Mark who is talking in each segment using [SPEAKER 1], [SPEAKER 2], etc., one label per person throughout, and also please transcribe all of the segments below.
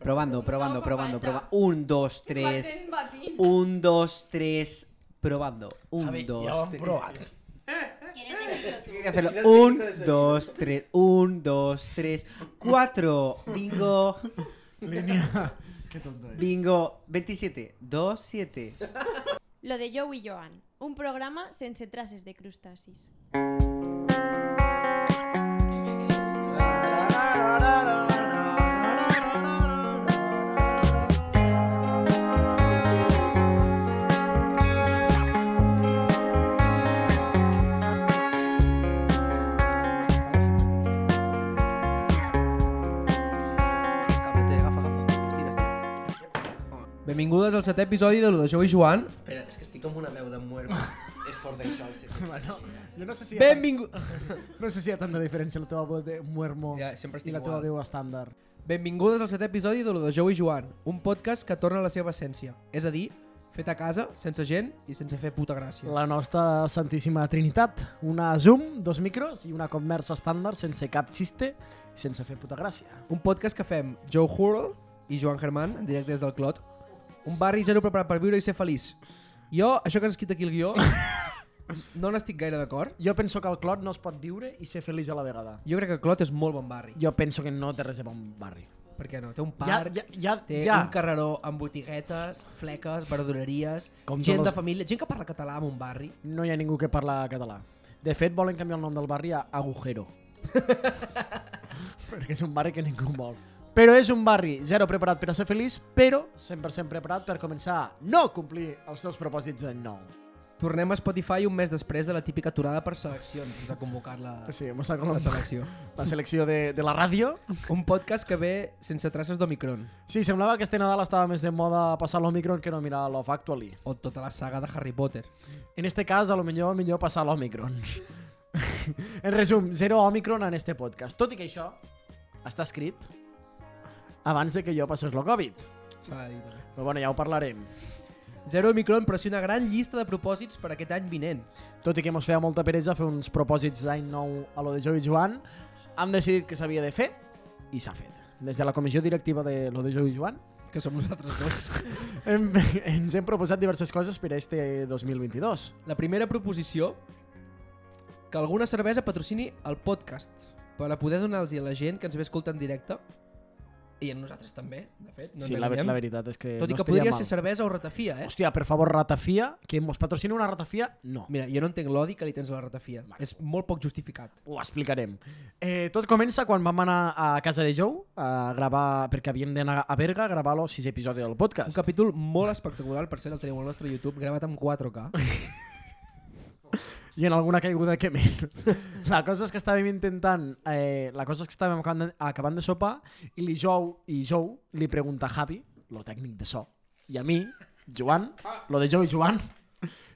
[SPEAKER 1] Probando, probando, probando, probando. Un, dos, tres.
[SPEAKER 2] Batent, batent.
[SPEAKER 1] Un, dos, tres. Probando. Un,
[SPEAKER 3] Javi, ja ho
[SPEAKER 1] dos,
[SPEAKER 3] hem
[SPEAKER 1] tres.
[SPEAKER 3] provat.
[SPEAKER 4] ¿Quieres decirlo tú?
[SPEAKER 1] Hay que hacerlo.
[SPEAKER 5] Es que no
[SPEAKER 1] Un,
[SPEAKER 5] tiene nada de sonido.
[SPEAKER 1] dos, tres. Un, dos, tres. Cuatro. Bingo.
[SPEAKER 3] Línea. Qué tonto eres.
[SPEAKER 1] Bingo. 27. Dos, siete.
[SPEAKER 2] Lo de Joe y Joan, un programa sense traces de crustacis.
[SPEAKER 5] Cabrete, agafa, agafa. Estira, estira. Benvingudes al setè episodi de lo de Joe i Joan. Espera, és que estic amb una veu de muerto. és fort això, el circuit.
[SPEAKER 3] Bueno, jo no sé si hi ha,
[SPEAKER 5] Benvingu...
[SPEAKER 3] no sé si hi ha tanta diferència la teva veu de muermo
[SPEAKER 5] Ja, sempre estic
[SPEAKER 3] i la teva
[SPEAKER 5] igual.
[SPEAKER 3] veu estàndard.
[SPEAKER 5] Benvingudes al setè episodi de lo de Joe i Joan, un podcast que torna a la seva essència, és a dir, fet a casa, sense gent i sense fer puta gràcia.
[SPEAKER 3] La nostra santíssima trinitat. Una Zoom, dos micros i una conversa estàndard sense cap xiste i sense fer puta gràcia.
[SPEAKER 5] Un podcast que fem Joe Hurl i Joan Germán, en directe des del Clot. Un barri zero preparat per viure i ser feliç. Jo, això que has escrit aquí el guió, no n'estic gaire d'acord.
[SPEAKER 3] Jo penso que el clot no es pot viure i ser feliç a la vegada.
[SPEAKER 5] Jo crec que el Clot és molt bon barri.
[SPEAKER 3] Jo penso que no té res de bon barri.
[SPEAKER 5] Per què no? Té un
[SPEAKER 3] Ja,
[SPEAKER 5] parc,
[SPEAKER 3] ja, ja,
[SPEAKER 5] té
[SPEAKER 3] ja.
[SPEAKER 5] un carreró amb botiguetes, fleques, verdureries,
[SPEAKER 3] Com
[SPEAKER 5] gent de
[SPEAKER 3] tots els-
[SPEAKER 5] família, gent que parla català en un barri.
[SPEAKER 3] No hi ha ningú que parla català. De fet, volen canviar el nom del barri a Agujero. perquè és un barri que ningú vol. Però és un barri zero preparat per a ser feliç, però 100% preparat per començar a no complir els seus propòsits de nou.
[SPEAKER 5] Tornem a Spotify un mes després de la típica aturada per seleccions, ens ha convocat la,
[SPEAKER 3] Sí, m'ho saco
[SPEAKER 5] la
[SPEAKER 3] la,
[SPEAKER 5] selecció.
[SPEAKER 3] la selecció de, de la ràdio.
[SPEAKER 5] Un podcast que ve sense traces d'Omicron,
[SPEAKER 3] Sí, semblava que este Nadal estava més de moda passar l'Omicron que no mirar l'Off Actually.
[SPEAKER 5] o tota la saga de Harry Potter.
[SPEAKER 3] En este cas, a lo millor, millor passar l'Omicron. en resum, zero Omicron en este podcast. Tot i que això està escrit abans de que jo passés la Covid.
[SPEAKER 5] S'ha de dir també.
[SPEAKER 3] Però bueno, ja ho parlarem.
[SPEAKER 5] Zero Omicron, però sí una gran llista de propòsits per aquest any vinent.
[SPEAKER 3] Tot i que mos feia molta peresa fer uns propòsits d'any nou a lo de Joe i Joan, hem decidit que s'havia de fer i s'ha fet. Des de la comissió directiva de lo de Joe i Joan
[SPEAKER 5] Que som nosaltres dos.
[SPEAKER 3] hem, ens hem proposat diverses coses per a este 2022.
[SPEAKER 5] La primera proposició, que alguna cervesa patrocini el podcast per a poder donar-los a la gent que ens ve escolta en directe i en nosaltres també, de fet, no
[SPEAKER 3] sí,
[SPEAKER 5] ens
[SPEAKER 3] la, ver-
[SPEAKER 5] enganyem.
[SPEAKER 3] la veritat és que
[SPEAKER 5] Tot i
[SPEAKER 3] no
[SPEAKER 5] que
[SPEAKER 3] estaria
[SPEAKER 5] podria
[SPEAKER 3] mal.
[SPEAKER 5] ser cervesa o ratafia, eh?
[SPEAKER 3] Hòstia, per favor, ratafia, que mos patrocina una ratafia, no.
[SPEAKER 5] Mira, jo no entenc l'odi que li tens a la ratafia. És molt poc justificat.
[SPEAKER 3] Ho explicarem. Eh, tot comença quan vam anar a casa de Joe a gravar, perquè havíem d'anar a Berga a gravar el sis episodi del
[SPEAKER 5] Un
[SPEAKER 3] podcast.
[SPEAKER 5] capítol molt espectacular, per cert, el teniu al nostre YouTube, gravat amb 4K.
[SPEAKER 3] I en alguna caiguda que menys. La cosa és que estàvem intentant, eh, la cosa és que estàvem acabant de, acabant de sopar i li Joe, i Joe li pregunta a Javi, lo tècnic de so, i a mi, Joan, lo de Joe i Joan,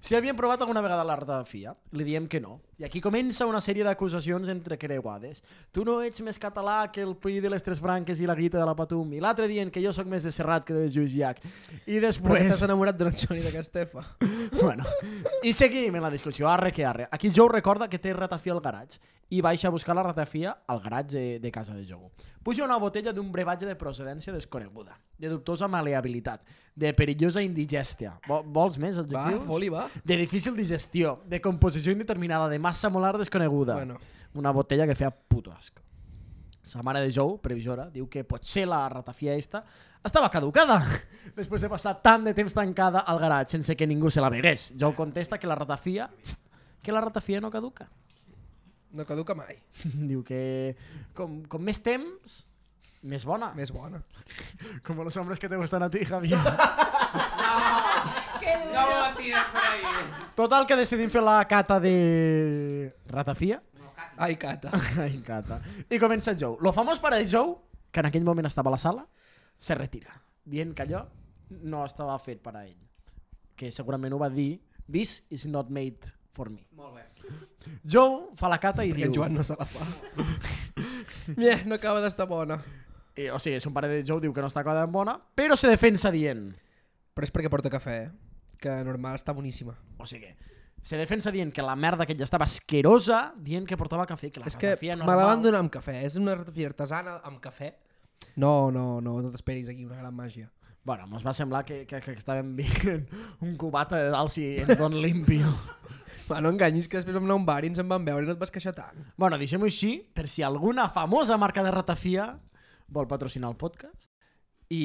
[SPEAKER 3] si havien provat alguna vegada la ratafia. Li diem que no. I aquí comença una sèrie d'acusacions entre creuades. Tu no ets més català que el PRI de les Tres Branques i la guita de la Patum. I l'altre dient que jo sóc més de Serrat que de Lluís Llach. I
[SPEAKER 5] Però
[SPEAKER 3] després...
[SPEAKER 5] estàs enamorat d'una Johnny d'aquesta Estefa.
[SPEAKER 3] Bueno, i seguim en la discussió, arre que arre. Aquí Joe recorda que té ratafia al garatge i baixa a buscar la ratafia al garatge de, de casa de Joe. Puja una botella d'un brevatge de procedència desconeguda, de dubtosa maleabilitat, de perillosa indigèstia. Vo- Vols més
[SPEAKER 5] Va,
[SPEAKER 3] adjectius?
[SPEAKER 5] foli, va.
[SPEAKER 3] De difícil digestió, de composició indeterminada, de massa molar desconeguda.
[SPEAKER 5] Bueno.
[SPEAKER 3] Una botella que feia puto asco. Sa mare de Joe, previsora, diu que potser la ratafia esta estava caducada després de passar tant de temps tancada al garatge sense que ningú se la begués. Joe contesta que la ratafia... txt, que la ratafia no caduca.
[SPEAKER 5] No caduca mai.
[SPEAKER 3] Diu que com, com més temps, més bona.
[SPEAKER 5] Més bona.
[SPEAKER 3] Com els homes que te gustan a ti, Javier.
[SPEAKER 4] ¡Qué duro!
[SPEAKER 3] Total, que decidim fer la cata de... Ratafia?
[SPEAKER 5] Ai, Cata.
[SPEAKER 3] Ai, Cata. I comença Joe. Lo famós pare de Joe, que en aquell moment estava a la sala, se retira, dient que allò no estava fet per a ell. Que segurament ho va dir, this is not made for me. Molt bé. Joe fa la cata i
[SPEAKER 5] I en
[SPEAKER 3] diu...
[SPEAKER 5] Joan no se la fa. Mira, no acaba d'estar bona.
[SPEAKER 3] Eh, o sigui, son pare de Joe diu que no està quedant bona, però se defensa dient...
[SPEAKER 5] Però és perquè porta cafè, eh? Que normal està boníssima.
[SPEAKER 3] O sigui, se defensa dient que la merda aquella estava asquerosa, dient que portava cafè, que la
[SPEAKER 5] és que
[SPEAKER 3] ratafia
[SPEAKER 5] me la van
[SPEAKER 3] normal...
[SPEAKER 5] donar amb cafè. És una ratafia artesana amb cafè. No, no, no, no t'esperis aquí una gran màgia.
[SPEAKER 3] Bueno, mos va semblar que, que, que estàvem veient un cubata de dalt si ens don limpio.
[SPEAKER 5] Va, no enganyis que després vam anar a un bar i ens en vam veure i no et vas queixar tant.
[SPEAKER 3] Bueno, deixem-ho així per si alguna famosa marca de ratafia vol patrocinar el podcast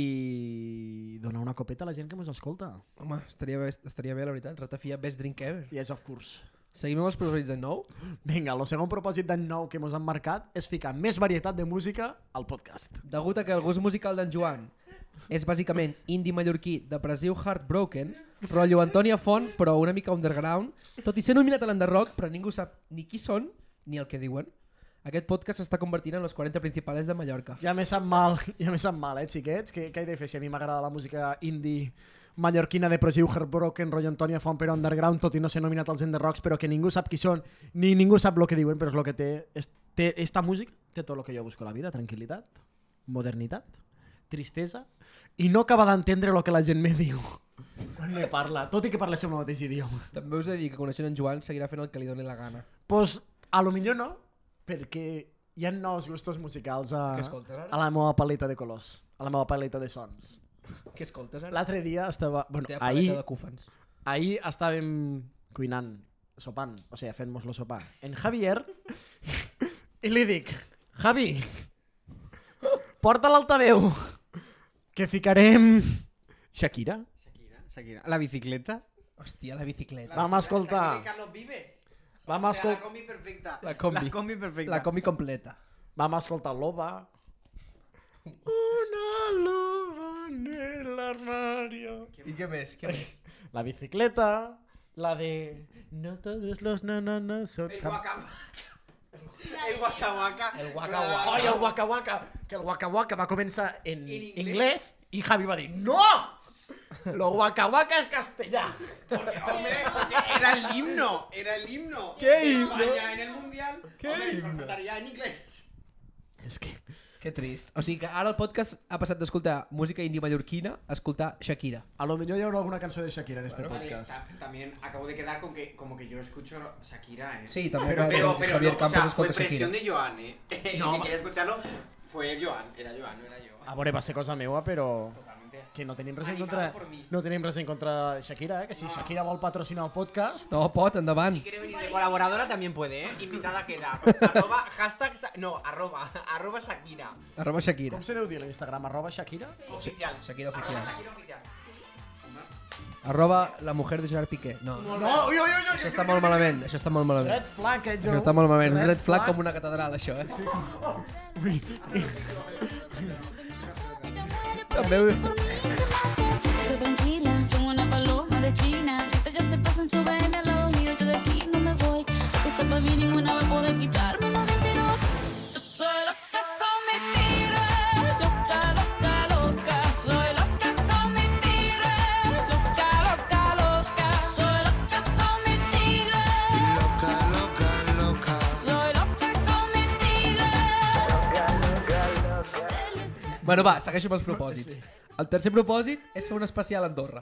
[SPEAKER 3] i donar una copeta a la gent que ens escolta.
[SPEAKER 5] Home, estaria bé, estaria bé la veritat. Ratafia, best drink ever.
[SPEAKER 3] Yes, of course.
[SPEAKER 5] Seguim amb els proveïts de nou.
[SPEAKER 3] Vinga, el segon propòsit d'any nou que ens han marcat és ficar més varietat de música al podcast.
[SPEAKER 5] Degut a que el gust musical d'en Joan és bàsicament indie mallorquí, depressiu, heartbroken, rotllo Antònia Font, però una mica underground, tot i ser nominat a l'Enderrock, però ningú sap ni qui són ni el que diuen. Aquest podcast s'està convertint en los 40 principales de Mallorca.
[SPEAKER 3] Ja me sap mal, ja me sap mal, eh, xiquets? Què, què he de fer si a mi m'agrada la música indie mallorquina de Prosiu, Heartbroken, Roy Antonio Font, però underground, tot i no ser nominat als Enderrocks, però que ningú sap qui són, ni ningú sap el que diuen, però és el que té, és, té esta música, té tot el que jo busco a la vida, tranquil·litat, modernitat, tristesa, i no acaba d'entendre el que la gent me diu quan me parla, tot i que parléssim el mateix idioma.
[SPEAKER 5] També us he de dir que coneixent en Joan seguirà fent el que li doni la gana.
[SPEAKER 3] Pues, Doncs, a lo millor no, perquè hi ha nous gustos musicals a,
[SPEAKER 5] Què escoltes ara?
[SPEAKER 3] a la meva paleta de colors, a la meva paleta de sons.
[SPEAKER 5] Què escoltes ara?
[SPEAKER 3] L'altre dia estava... Bueno,
[SPEAKER 5] teva paleta
[SPEAKER 3] ahir,
[SPEAKER 5] de cúfans.
[SPEAKER 3] ahir estàvem cuinant, sopant, o sigui, fent-nos lo sopar. En Javier, i li dic, Javi, porta l'altaveu, que ficarem... Shakira?
[SPEAKER 6] Shakira, Shakira. La bicicleta.
[SPEAKER 5] Hòstia, la bicicleta.
[SPEAKER 3] Vam escoltar,
[SPEAKER 6] Carlos Vives.
[SPEAKER 3] vam, escol...
[SPEAKER 6] La combi perfecta.
[SPEAKER 5] La combi.
[SPEAKER 6] La combi perfecta.
[SPEAKER 5] La combi completa.
[SPEAKER 3] vam escoltar l'ova. Una loba en el armario.
[SPEAKER 5] I què més? Què més?
[SPEAKER 3] La bicicleta, la de... No todos los nananas son...
[SPEAKER 6] El
[SPEAKER 3] tan-
[SPEAKER 6] guacam... El guacahuaca.
[SPEAKER 5] El guacahuaca.
[SPEAKER 3] Oi, el Waka Waka, que el Waka Waka va començar en,
[SPEAKER 6] En
[SPEAKER 3] inglés.
[SPEAKER 6] inglés.
[SPEAKER 3] i Javi va dir No! Lo Waka Waka és castellà.
[SPEAKER 6] Hombre, porque era el himno. Era el himno.
[SPEAKER 5] ¿Qué
[SPEAKER 6] De
[SPEAKER 5] himno?
[SPEAKER 6] España en el mundial.
[SPEAKER 5] ¿Qué
[SPEAKER 6] Hombre,
[SPEAKER 5] himno?
[SPEAKER 6] Faltaría en inglés.
[SPEAKER 3] És que...
[SPEAKER 5] Que trist. O sigui que ara el podcast ha passat d'escoltar música indie mallorquina a escoltar Shakira.
[SPEAKER 3] A lo millor hi haurà alguna cançó de Shakira en este
[SPEAKER 6] Vale,
[SPEAKER 3] podcast.
[SPEAKER 6] ta- también acabo de quedar con que como que yo escucho Shakira, ¿eh?
[SPEAKER 5] Sí, también
[SPEAKER 6] pero,
[SPEAKER 5] acabo de
[SPEAKER 6] pero,
[SPEAKER 5] decir
[SPEAKER 6] pero
[SPEAKER 5] Javier
[SPEAKER 6] no, o
[SPEAKER 5] Campos
[SPEAKER 6] sea,
[SPEAKER 5] escucha
[SPEAKER 6] fue presión
[SPEAKER 5] Shakira.
[SPEAKER 6] de Joan, ¿eh? El
[SPEAKER 3] No,
[SPEAKER 6] que
[SPEAKER 3] ma-
[SPEAKER 6] quería escucharlo fue Joan, era Joan, no era yo.
[SPEAKER 3] A veure, va ser cosa meua, però...
[SPEAKER 6] Totalmente.
[SPEAKER 3] Que no tenim res en contra...
[SPEAKER 6] Animada por mi.
[SPEAKER 3] No tenim res en contra de Shakira, eh? Que si Shakira vol patrocinar el podcast...
[SPEAKER 5] No, pot, endavant.
[SPEAKER 6] Si quiere venir de colaboradora también puede, ¿eh? Invitada queda. Arroba, hashtag, Sa- no, arroba, arroba Shakira.
[SPEAKER 5] Arroba Shakira.
[SPEAKER 3] Com se deu dir a l'Instagram? Arroba Shakira?
[SPEAKER 6] Oficial.
[SPEAKER 5] Shakira
[SPEAKER 6] Arroba
[SPEAKER 5] oficial.
[SPEAKER 6] Shakira oficial.
[SPEAKER 5] Arroba la mujer de Gerard Piqué. No, no.
[SPEAKER 3] No, ui, ui, ui,
[SPEAKER 5] Això
[SPEAKER 3] ui,
[SPEAKER 5] està molt malament, això està molt malament.
[SPEAKER 3] Red flag, eh, Joe?
[SPEAKER 5] Això està molt malament. Un red flag com una catedral, això, eh? També ho...
[SPEAKER 7] Por mí es que matas, yo sigo tranquila. Como una paloma de China. Chicas ya se pasan, suben al lado mío. Yo de aquí no me voy. Sé que esta pa' mí ninguna va a poder quitarme más de tiro. Yo soy loca con mi tiro. Loca, loca, loca. Soy loca con mi tiro. Loca, loca, loca. Soy loca con mi tiro. Loca, loca, loca. Soy loca con mi tiro.
[SPEAKER 5] Bueno, va, segueixo amb els propòsits. El tercer propòsit és fer un especial a Andorra.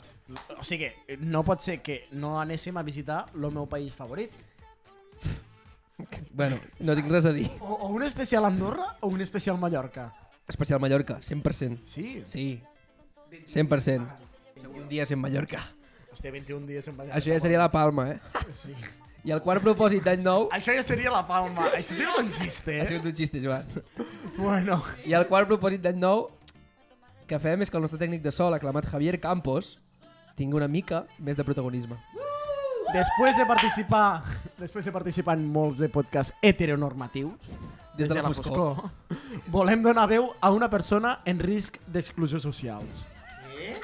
[SPEAKER 3] O sigui, no pot ser que no anéssim a visitar el meu país favorit.
[SPEAKER 5] Bueno, no tinc res a dir.
[SPEAKER 3] O, o un especial Andorra o un especial Mallorca.
[SPEAKER 5] Especial Mallorca, 100%.
[SPEAKER 3] Sí.
[SPEAKER 5] Sí, 100%. Un dia en Mallorca.
[SPEAKER 3] Hòstia, 21 dies en Mallorca.
[SPEAKER 5] Això ja seria la palma, eh?
[SPEAKER 3] Sí.
[SPEAKER 5] I el quart propòsit d'any nou...
[SPEAKER 3] Això ja seria la palma. Això sí que no existe, eh?
[SPEAKER 5] Ha sigut un xiste, Joan.
[SPEAKER 3] Bueno.
[SPEAKER 5] I el quart propòsit d'any nou que fem és que el nostre tècnic de sol, aclamat Javier Campos, tingui una mica més de protagonisme.
[SPEAKER 3] Després de participar, després de participar en molts de podcasts heteronormatius,
[SPEAKER 5] Des de Pues la foscor.
[SPEAKER 3] volem donar veu a una persona en risc d'exclusió socials.
[SPEAKER 6] ¿Eh?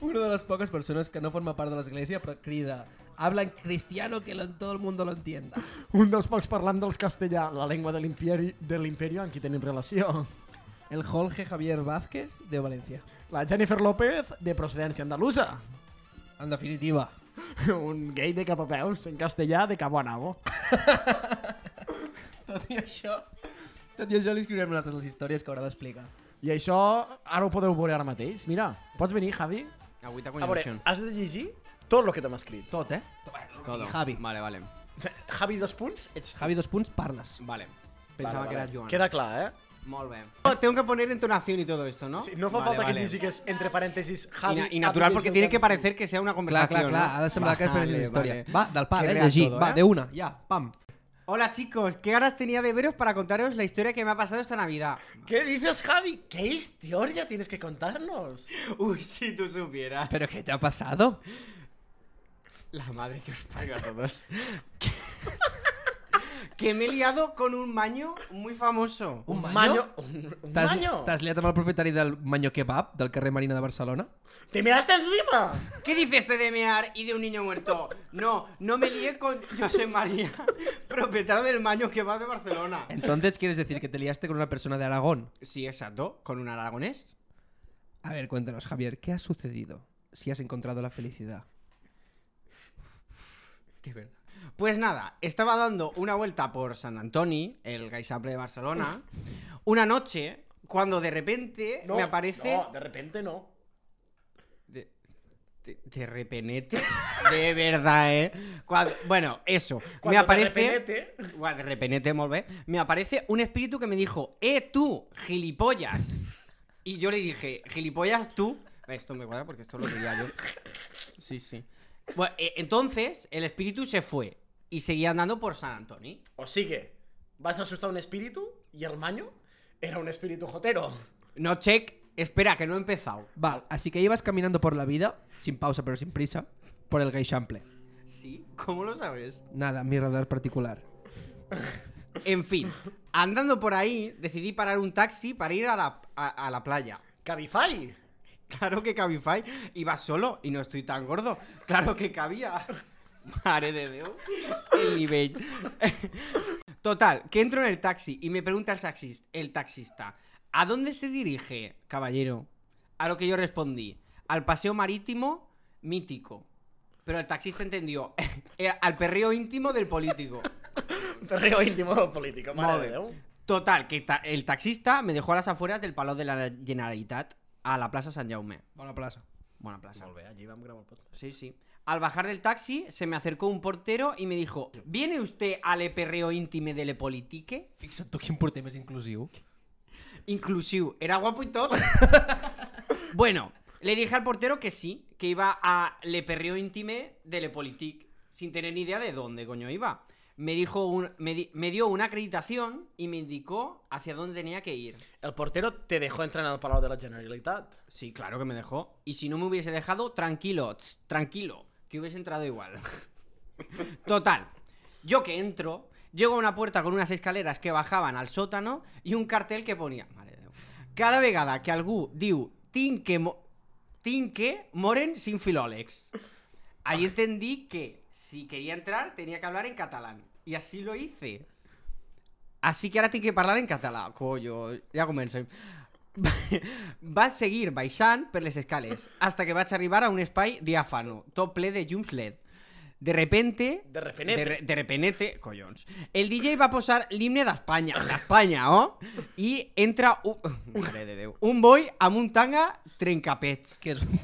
[SPEAKER 5] Una de les poques persones que no forma part de l'església però crida Habla en cristiano que lo, todo el mundo lo entienda.
[SPEAKER 3] Un dels pocs parlant dels castellà, la llengua de l'imperi, de l'imperio en qui tenim relació.
[SPEAKER 5] El Jorge Javier Vázquez de València.
[SPEAKER 3] La Jennifer López, de procedència andalusa.
[SPEAKER 5] En definitiva.
[SPEAKER 3] Un gay de cap a peus, en castellà, de cabo a nabo.
[SPEAKER 5] Tot i això, tot i això li escriurem nosaltres les històries que haurà d'explicar.
[SPEAKER 3] I això ara ho podeu veure ara mateix. Mira, pots venir, Javi?
[SPEAKER 6] Agüita con
[SPEAKER 3] A veure, has de llegir tot el que t'hem escrit.
[SPEAKER 5] Tot, eh?
[SPEAKER 6] Todo.
[SPEAKER 5] Javi.
[SPEAKER 6] Vale, vale.
[SPEAKER 3] Javi, dos punts, ets...
[SPEAKER 5] Javi, dos punts, parles.
[SPEAKER 6] Vale.
[SPEAKER 3] Vale, vale. Queda clar, eh?
[SPEAKER 6] Molt bé. No, Tengo que poner entonación y todo esto, ¿no?
[SPEAKER 3] Sí, no fa
[SPEAKER 6] Vale,
[SPEAKER 3] falta que
[SPEAKER 6] vale.
[SPEAKER 3] digues entre paréntesis
[SPEAKER 6] Y,
[SPEAKER 3] Javi.
[SPEAKER 6] na- y natural porque tiene que parecer que sea una
[SPEAKER 5] Clar,
[SPEAKER 6] conversación.
[SPEAKER 5] clar, clar,
[SPEAKER 6] ¿no?
[SPEAKER 5] ha de semblar que és
[SPEAKER 6] Vale,
[SPEAKER 5] una història.
[SPEAKER 6] vale.
[SPEAKER 5] Va, del pal,
[SPEAKER 6] Qué
[SPEAKER 5] eh?
[SPEAKER 6] real
[SPEAKER 5] Llegir,
[SPEAKER 6] todo,
[SPEAKER 5] va,
[SPEAKER 6] ¿eh?
[SPEAKER 5] de una, ja, pam.
[SPEAKER 6] Hola chicos, qué ganas tenía de veros para contaros la historia que me ha pasado esta Navidad.
[SPEAKER 3] ¿Qué dices, Javi? ¿Qué historia tienes que contarnos?
[SPEAKER 6] Uy, si tú supieras.
[SPEAKER 5] Però què t'ha passat?
[SPEAKER 6] La madre que os paga a todos. Que- que me he liado con un maño muy famoso.
[SPEAKER 3] ¿Un
[SPEAKER 5] maño?
[SPEAKER 3] ¿Un, un
[SPEAKER 5] T'has
[SPEAKER 3] maño?
[SPEAKER 5] t'has liat amb el propietari del Maño Kebab, del carrer Marina de Barcelona?
[SPEAKER 3] ¡Te miraste encima!
[SPEAKER 6] ¿Qué dice este de mear y de un niño muerto? No, no me lié con José María, propietario del maño que va de Barcelona.
[SPEAKER 5] Entonces, ¿quieres decir que te liaste con una persona de Aragón?
[SPEAKER 6] Sí, exacto, con un aragonés.
[SPEAKER 5] A ver, cuéntanos, Javier, ¿qué ha sucedido si has encontrado la felicidad?
[SPEAKER 6] De verdad. Pues nada, estaba dando una vuelta por San Antoni, el Gaisaple de Barcelona, una noche cuando de repente me aparece...
[SPEAKER 3] No, de repente no.
[SPEAKER 6] De, de, de repenete. De verdad, ¿eh? Cuando- bueno, eso. me
[SPEAKER 3] Cuando de
[SPEAKER 6] aparece...
[SPEAKER 3] repente-
[SPEAKER 6] Guau, de repenete, molt bé. Me aparece un espíritu que me dijo, ¡eh, tú, gilipollas! Y yo le dije, gilipollas tú. Esto me cuadra porque esto lo diría yo. Sí, sí. Bueno, eh, entonces el espíritu se fue y seguía andando por San Antoni.
[SPEAKER 3] O sigue. Vas a asustar a un espíritu y el maño era un espíritu jotero.
[SPEAKER 6] No, check. Espera, que no he empezado.
[SPEAKER 5] Va, así que ibas caminando por la vida, sin pausa pero sin prisa, por el gay Chample.
[SPEAKER 6] ¿Sí? ¿Cómo lo sabes?
[SPEAKER 5] Nada, mi radar particular.
[SPEAKER 6] En fin, andando por ahí, decidí parar un taxi para ir a la, a- a la playa.
[SPEAKER 3] Cabify.
[SPEAKER 6] Claro que Cabify iba solo y no estoy tan gordo. Claro que cabía. Mare de Déu. El nivell. Total, que entro en el taxi y me pregunta el taxista, el taxista, ¿a dónde se dirige, caballero? A lo que yo respondí, al paseo marítimo mítico. Pero el taxista entendió, eh, al perreo íntimo del político.
[SPEAKER 3] Perreo íntimo político,
[SPEAKER 6] Molt
[SPEAKER 3] madre
[SPEAKER 6] bé.
[SPEAKER 3] de Déu.
[SPEAKER 6] Total, que ta- el taxista me dejó a las afueras del Palau de la Generalitat, a la plaza San Jaume.
[SPEAKER 5] Bona plaça.
[SPEAKER 6] Buena plaza.
[SPEAKER 3] Molt bé, allí vam gravar el podcast.
[SPEAKER 6] Sí, sí. Al bajar del taxi, se me acercó un portero y me dijo: ¿Viene usted al perreo íntime de Le Politique?
[SPEAKER 5] Fixa't tu quin porter més inclusiu.
[SPEAKER 6] Inclusive, era guapo y todo. bueno, le dije al portero que sí, que iba a Le Perreo Intime de Le Politique, sin tener ni idea de dónde coño iba. Me, dijo un- me, di- me dio una acreditación y me indicó hacia dónde tenía que ir.
[SPEAKER 3] El portero te dejó entrar al Palau de la Generalitat.
[SPEAKER 6] Sí, claro que me dejó. Y si no me hubiese dejado, tranquilo, tss, tranquilo, que hubiese entrado igual. Total, yo que entro, llego a una puerta con unas escaleras que bajaban al sótano y un cartel que ponía... Mare de Déu. Cada vegada que algú diu tinque, mo tinque moren sin filòlegs. Ahí entendí que si quería entrar tenía que hablar en catalán. Y así lo hice. Así que ahora tengo que hablar en catalán. Coño, ya comencé. Va seguir baixant per les escales hasta que vaig arribar a un espai diàfano, tot ple de llums LED. De repente...
[SPEAKER 3] De repenete.
[SPEAKER 6] De, re- de repenete, collons. El DJ va posar l'himne d'Espanya, d'Espanya, oh? I entra un... Mare de Déu. Un boi amb un tanga trencapets.
[SPEAKER 5] Què és un...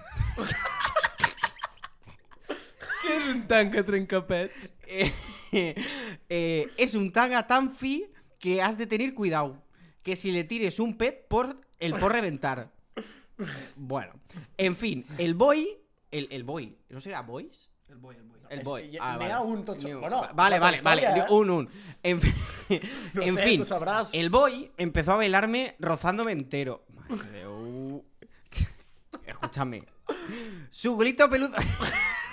[SPEAKER 5] Què és un tanca trencapets?
[SPEAKER 6] Eh, eh, es un tanga tan fi que has de tener cuidado. Que si le tires un pet, por, el por reventar. Bueno, en fin, el boy. El, el boy, ¿no será boys?
[SPEAKER 5] El boi, el boi.
[SPEAKER 6] El
[SPEAKER 3] Es-
[SPEAKER 6] boy.
[SPEAKER 3] y-
[SPEAKER 6] Ah,
[SPEAKER 3] nea
[SPEAKER 6] vale.
[SPEAKER 3] un tocho-
[SPEAKER 6] Ni
[SPEAKER 3] bueno,
[SPEAKER 6] Va- vale,
[SPEAKER 3] una
[SPEAKER 6] vale, vale.
[SPEAKER 3] historia,
[SPEAKER 6] ni
[SPEAKER 3] ¿eh?
[SPEAKER 6] Un, un. En, fin-
[SPEAKER 3] No
[SPEAKER 6] en
[SPEAKER 3] sé,
[SPEAKER 6] fin,
[SPEAKER 3] tú sabrás.
[SPEAKER 6] el boy empezó a bailarme rozándome entero. Madre de u- Escúchame. Su grito peludo.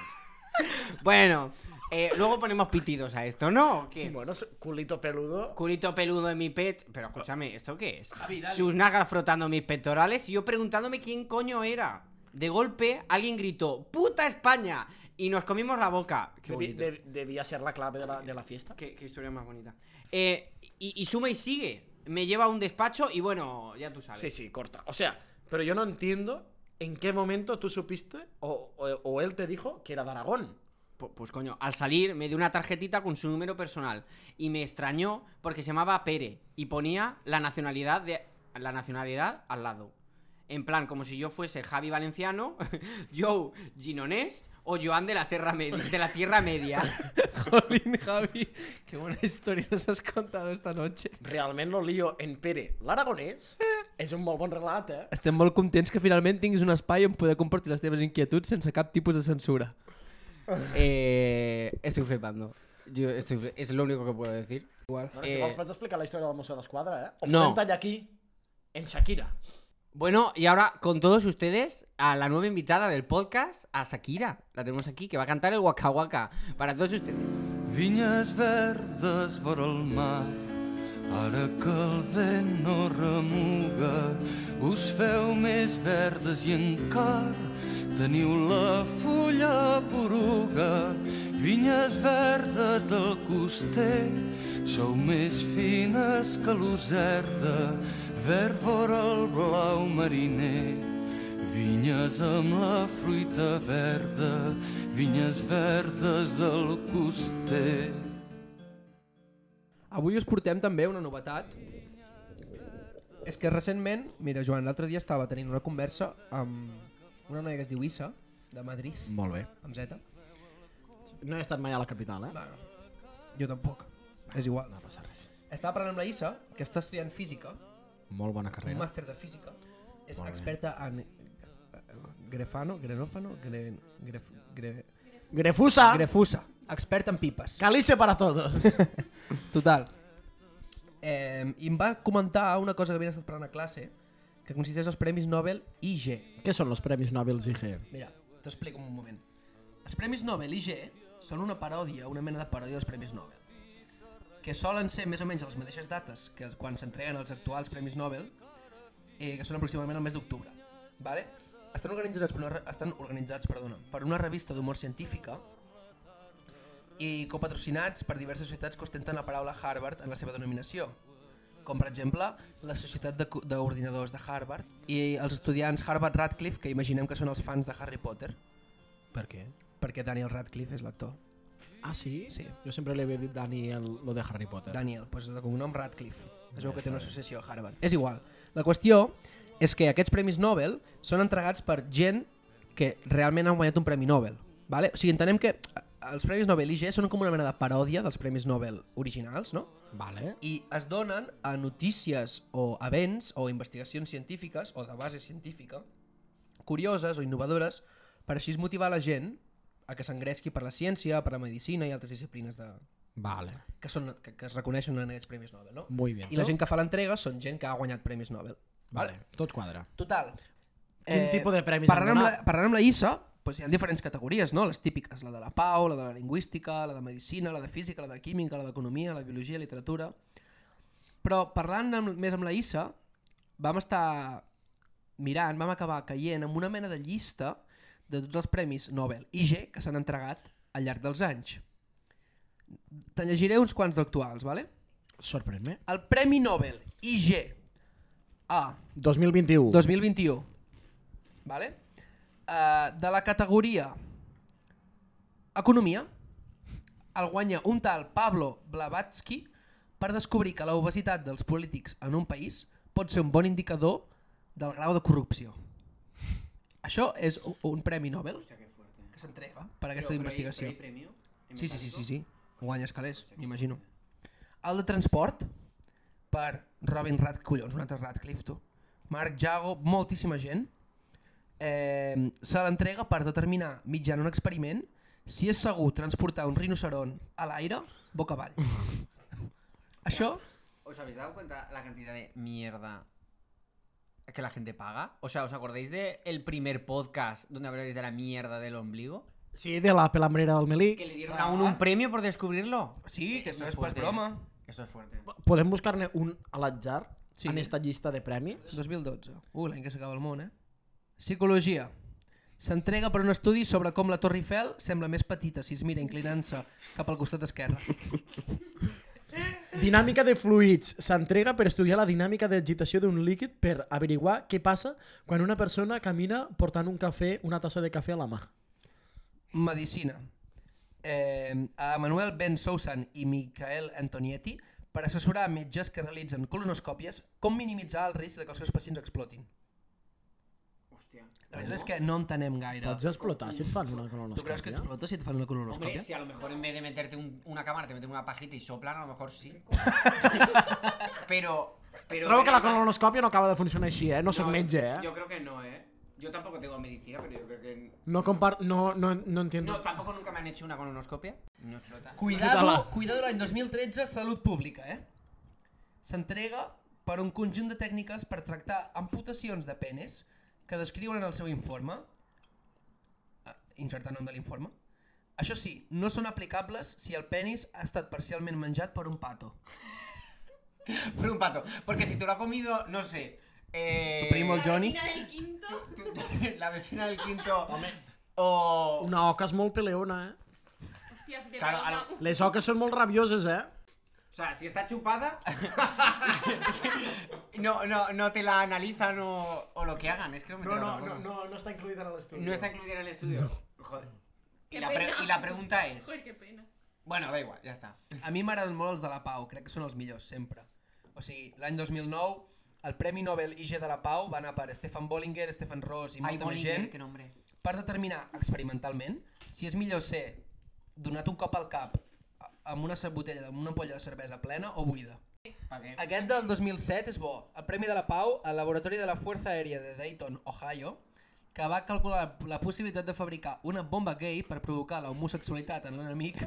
[SPEAKER 6] bueno, eh, luego ponemos pitidos a esto, ¿no? ¿O qué?
[SPEAKER 3] Bueno, su- culito peludo.
[SPEAKER 6] Culito peludo en mi pet. Pero escúchame, ¿esto qué es?
[SPEAKER 3] Ah,
[SPEAKER 6] Sus nagas frotando mis pectorales y yo preguntándome quién coño era. De golpe, alguien gritó: ¡Puta España! Y nos comimos la boca.
[SPEAKER 3] Debi-
[SPEAKER 6] Qué bonito.
[SPEAKER 3] de- debía ser la clave de la, de la fiesta.
[SPEAKER 6] Qué, qué historia más bonita. Eh, y, y suma y sigue. Me lleva a un despacho y bueno, ya tú sabes.
[SPEAKER 3] Sí, sí, corta. O sea, pero yo no entiendo en qué momento tú supiste o, o- o él te dijo que era de Aragón.
[SPEAKER 6] Pu- Pues, coño, al salir me dio una tarjetita con su número personal y me extrañó porque se llamaba Pere y ponía la nacionalidad de la nacionalidad al lado. En plan, como si yo fuese Javi Valenciano, Joe Ginonés o Joan de la Tierra, Medi- de la tierra Media.
[SPEAKER 5] Jolín, Javi, qué buena historia nos has contado esta noche.
[SPEAKER 3] Realment l'Olio en Pere, l'aragonès, és un molt bon relat, eh?
[SPEAKER 5] Estem molt contents que finalment tinguis un espai on poder compartir les teves inquietuds sense cap tipus de censura.
[SPEAKER 6] Eh, estoy flipando. Yo estoy fli- es lo único que puedo decir.
[SPEAKER 5] Igual.
[SPEAKER 3] Bueno, si
[SPEAKER 6] Eh,
[SPEAKER 3] vols pots explicar la història del Mosso d'Esquadra, eh? O
[SPEAKER 6] No.
[SPEAKER 3] podem tallar aquí, en Shakira.
[SPEAKER 6] Bueno, y ahora con todos ustedes a la nueva invitada del podcast, a Shakira. La tenemos aquí, que va a cantar el Waka Waka. Para todos ustedes.
[SPEAKER 8] Vinyes verdes vora el mar, ara que el vent no remuga, us feu més verdes i encara teniu la fulla poruga. Vinyes verdes del coster, sou més fines que l'userda, verd vora el blau mariner. Vinyes amb la fruita verda, vinyes verdes del coster.
[SPEAKER 5] Avui us portem també una novetat. És que recentment, mira Joan, l'altre dia estava tenint una conversa amb una noia que es diu Issa, de Madrid,
[SPEAKER 3] Molt bé.
[SPEAKER 5] amb Z.
[SPEAKER 3] No he estat mai a la capital, eh?
[SPEAKER 5] Bueno, jo tampoc. És igual.
[SPEAKER 3] No passa res.
[SPEAKER 5] Estava parlant amb la Issa, que està estudiant física,
[SPEAKER 3] Molt bona
[SPEAKER 5] un
[SPEAKER 3] carrera.
[SPEAKER 5] màster de física. És
[SPEAKER 3] Molt bé.
[SPEAKER 5] experta en eh, grefano, grenófano, gre, gref, gre,
[SPEAKER 3] Grefusa!
[SPEAKER 5] grefusa. Experta en pipes.
[SPEAKER 3] Calice para todos!
[SPEAKER 5] Total. Eh, I em va comentar una cosa que havien estat parlant a classe, que consisteix als Premis Nobel IG.
[SPEAKER 3] Què són els Premis Nobel E? IG?
[SPEAKER 5] Mira, t'explico un moment. Els Premis Nobel IG són una paròdia, una mena de paròdia dels Premis Nobel, que solen ser més o menys a les mateixes dates que els- quan s'entreguen els actuals Premis Nobel, eh, que són aproximadament el mes d'octubre. Vale? Estan organitzats, per una, re- estan organitzats perdona, per una revista d'humor científica i copatrocinats per diverses societats que ostenten la paraula Harvard en la seva denominació, com per exemple la Societat de Co- d'Ordinadors de, Harvard i els estudiants Harvard Radcliffe, que imaginem que són els fans de Harry Potter,
[SPEAKER 3] Per què?
[SPEAKER 5] perquè Daniel Radcliffe és l'actor.
[SPEAKER 3] Ah, sí?
[SPEAKER 5] Sí.
[SPEAKER 3] Jo sempre li havia dit Daniel lo de Harry Potter.
[SPEAKER 5] Daniel, doncs de cognom Radcliffe. Es veu
[SPEAKER 3] Ja
[SPEAKER 5] que
[SPEAKER 3] està
[SPEAKER 5] té una
[SPEAKER 3] bé.
[SPEAKER 5] associació a Harvard. És igual. La qüestió és que aquests premis Nobel són entregats per gent que realment han guanyat un premi Nobel. Vale? O sigui, entenem que eh, els premis Nobel IG són com una mena de paròdia dels premis Nobel originals, no?
[SPEAKER 3] Vale.
[SPEAKER 5] i es donen a notícies o events o investigacions científiques o de base científica curioses o innovadores per així motivar la gent a que s'engresqui per la ciència, per la medicina i altres disciplines de...
[SPEAKER 3] Vale.
[SPEAKER 5] que, són, que, que es reconeixen en aquests Premis Nobel, no?
[SPEAKER 3] Muy bien.
[SPEAKER 5] I la gent que fa l'entrega són gent que ha guanyat Premis Nobel.
[SPEAKER 3] Vale, tot quadra.
[SPEAKER 5] Total.
[SPEAKER 3] Quin tipus de premis
[SPEAKER 5] Parlant
[SPEAKER 3] han
[SPEAKER 5] amb, la,
[SPEAKER 3] donat?
[SPEAKER 5] parlant amb la ISA, doncs hi ha diferents categories, no? Les típiques, la de la pau, la de la lingüística, la de medicina, la de física, la de química, la d'economia, la de biologia, literatura... Però parlant amb, més amb la ISA, vam estar mirant, vam acabar caient amb una mena de llista de tots els premis Nobel IG que s'han entregat al llarg dels anys. Te'n llegiré uns quants d'actuals, vale?
[SPEAKER 3] Sorprèn-me.
[SPEAKER 5] El Premi Nobel IG a
[SPEAKER 3] 2021.
[SPEAKER 5] 2021. ¿Vale? Eh, de la categoria Economia, el guanya un tal Pablo Blavatsky per descobrir que la obesitat dels polítics en un país pot ser un bon indicador del grau de corrupció. Això és u- un premi Nobel que s'entrega per aquesta investigació. Sí, sí, sí, sí, sí. Guanyes calés, m'imagino. El de transport, per Robin Rad... Collons, un altre Radcliffe, tu. Marc Jago, moltíssima gent. Eh, se l'entrega per determinar mitjant un experiment si és segur transportar un rinoceron a l'aire boca avall. Això,
[SPEAKER 6] ¿Os habéis dado cuenta la cantidad de mierda que la gente paga? O sea, ¿os acordáis de el primer podcast donde habláis de la mierda del ombligo?
[SPEAKER 3] Sí, de la pelambrera del Melí.
[SPEAKER 6] Que le dieron a uno un premio por descubrirlo.
[SPEAKER 5] sí, que
[SPEAKER 6] Eso
[SPEAKER 5] no
[SPEAKER 6] es
[SPEAKER 5] és eh? pas
[SPEAKER 6] fuerte.
[SPEAKER 5] broma.
[SPEAKER 6] Esto es fuerte.
[SPEAKER 3] Podem buscar-ne un a l'atzar
[SPEAKER 5] Sí.
[SPEAKER 3] sí. en esta llista de premis?
[SPEAKER 5] 2012. Uh, l'any que s'acaba el món, eh? Psicologia. S'entrega per un estudi sobre com la Torre Eiffel sembla més petita si es mira inclinant-se cap al costat esquerre.
[SPEAKER 3] Dinàmica de fluids. S'entrega per estudiar la dinàmica d'agitació d'un líquid per averiguar què passa quan una persona camina portant un cafè, una tassa de cafè a la mà.
[SPEAKER 5] Medicina. Eh, a Manuel Ben Sousan i Michael Antonietti per assessorar metges que realitzen colonoscòpies com minimitzar el risc de que els seus pacients explotin.
[SPEAKER 6] Hòstia.
[SPEAKER 5] La veritat és que no entenem gaire.
[SPEAKER 3] Pots explotar si et fan una colonoscòpia?
[SPEAKER 5] Tu creus que explota si et fan una
[SPEAKER 6] Hombre, si
[SPEAKER 5] colonoscòpia?
[SPEAKER 6] a lo mejor en vez de meterte un- una cámara te meten una pajita y soplan, a lo mejor sí. pero, pero.
[SPEAKER 3] Trobo que la colonoscòpia no acaba de funcionar així, eh? No soc
[SPEAKER 6] No,
[SPEAKER 3] metge, eh?
[SPEAKER 6] Yo creo que no, ¿eh? Yo tampoco tengo medicina, pero yo creo que.
[SPEAKER 3] No compar... No, no, no entiendo.
[SPEAKER 6] No, tampoco nunca me han hecho una colonoscopia. No explota.
[SPEAKER 5] Cuidado, cuidado l'any 2013, Salut Pública, eh? S'entrega per un conjunt de tècniques per tractar amputacions de penes que descriuen en el seu informe, Ah, insertar nom de l'informe, això sí, no són aplicables si el penis ha estat parcialment menjat per un pato.
[SPEAKER 6] Por un pato. Porque si tú lo has comido, no sé. Eh,
[SPEAKER 5] Tu primo el Johnny.
[SPEAKER 2] Vecina del quinto.
[SPEAKER 6] tú- la vecina del quinto. O.
[SPEAKER 3] Una oca és molt peleona, eh?
[SPEAKER 2] Hostias, de
[SPEAKER 6] Claro,
[SPEAKER 2] verdad.
[SPEAKER 6] a lo-
[SPEAKER 3] Les oques són molt rabioses, eh?
[SPEAKER 6] O sea, si está chupada. no, no, no te la analizan o, o lo que hagan. Es que no me entero tampoco.
[SPEAKER 3] no està incluïda en l'estudi.
[SPEAKER 6] No está incluida en el estudio. Joder. Y
[SPEAKER 2] Qué
[SPEAKER 6] la, pre-
[SPEAKER 2] pena.
[SPEAKER 6] y la pregunta es.
[SPEAKER 2] Joder, qué pena.
[SPEAKER 6] Bueno, da igual, ya está.
[SPEAKER 5] A mi m'agraden molt els de la Pau, crec que són els millors, sempre. O sigui, l'any 2009, el Premi Nobel IG de la Pau va anar per Stefan Bollinger, Stefan Ross i
[SPEAKER 6] Hay
[SPEAKER 5] molta més gent
[SPEAKER 6] qué nombre.
[SPEAKER 5] per determinar experimentalment si és millor ser donat un cop al cap a- amb una ce- botella, amb una ampolla de cervesa plena o buida.
[SPEAKER 6] ¿Para qué?
[SPEAKER 5] Aquest del 2007 és bo. El Premi de la Pau al Laboratori de la Fuerza Aèria de Dayton, Ohio, que va calcular la possibilitat de fabricar una bomba gay per provocar la homosexualitat en l'enemic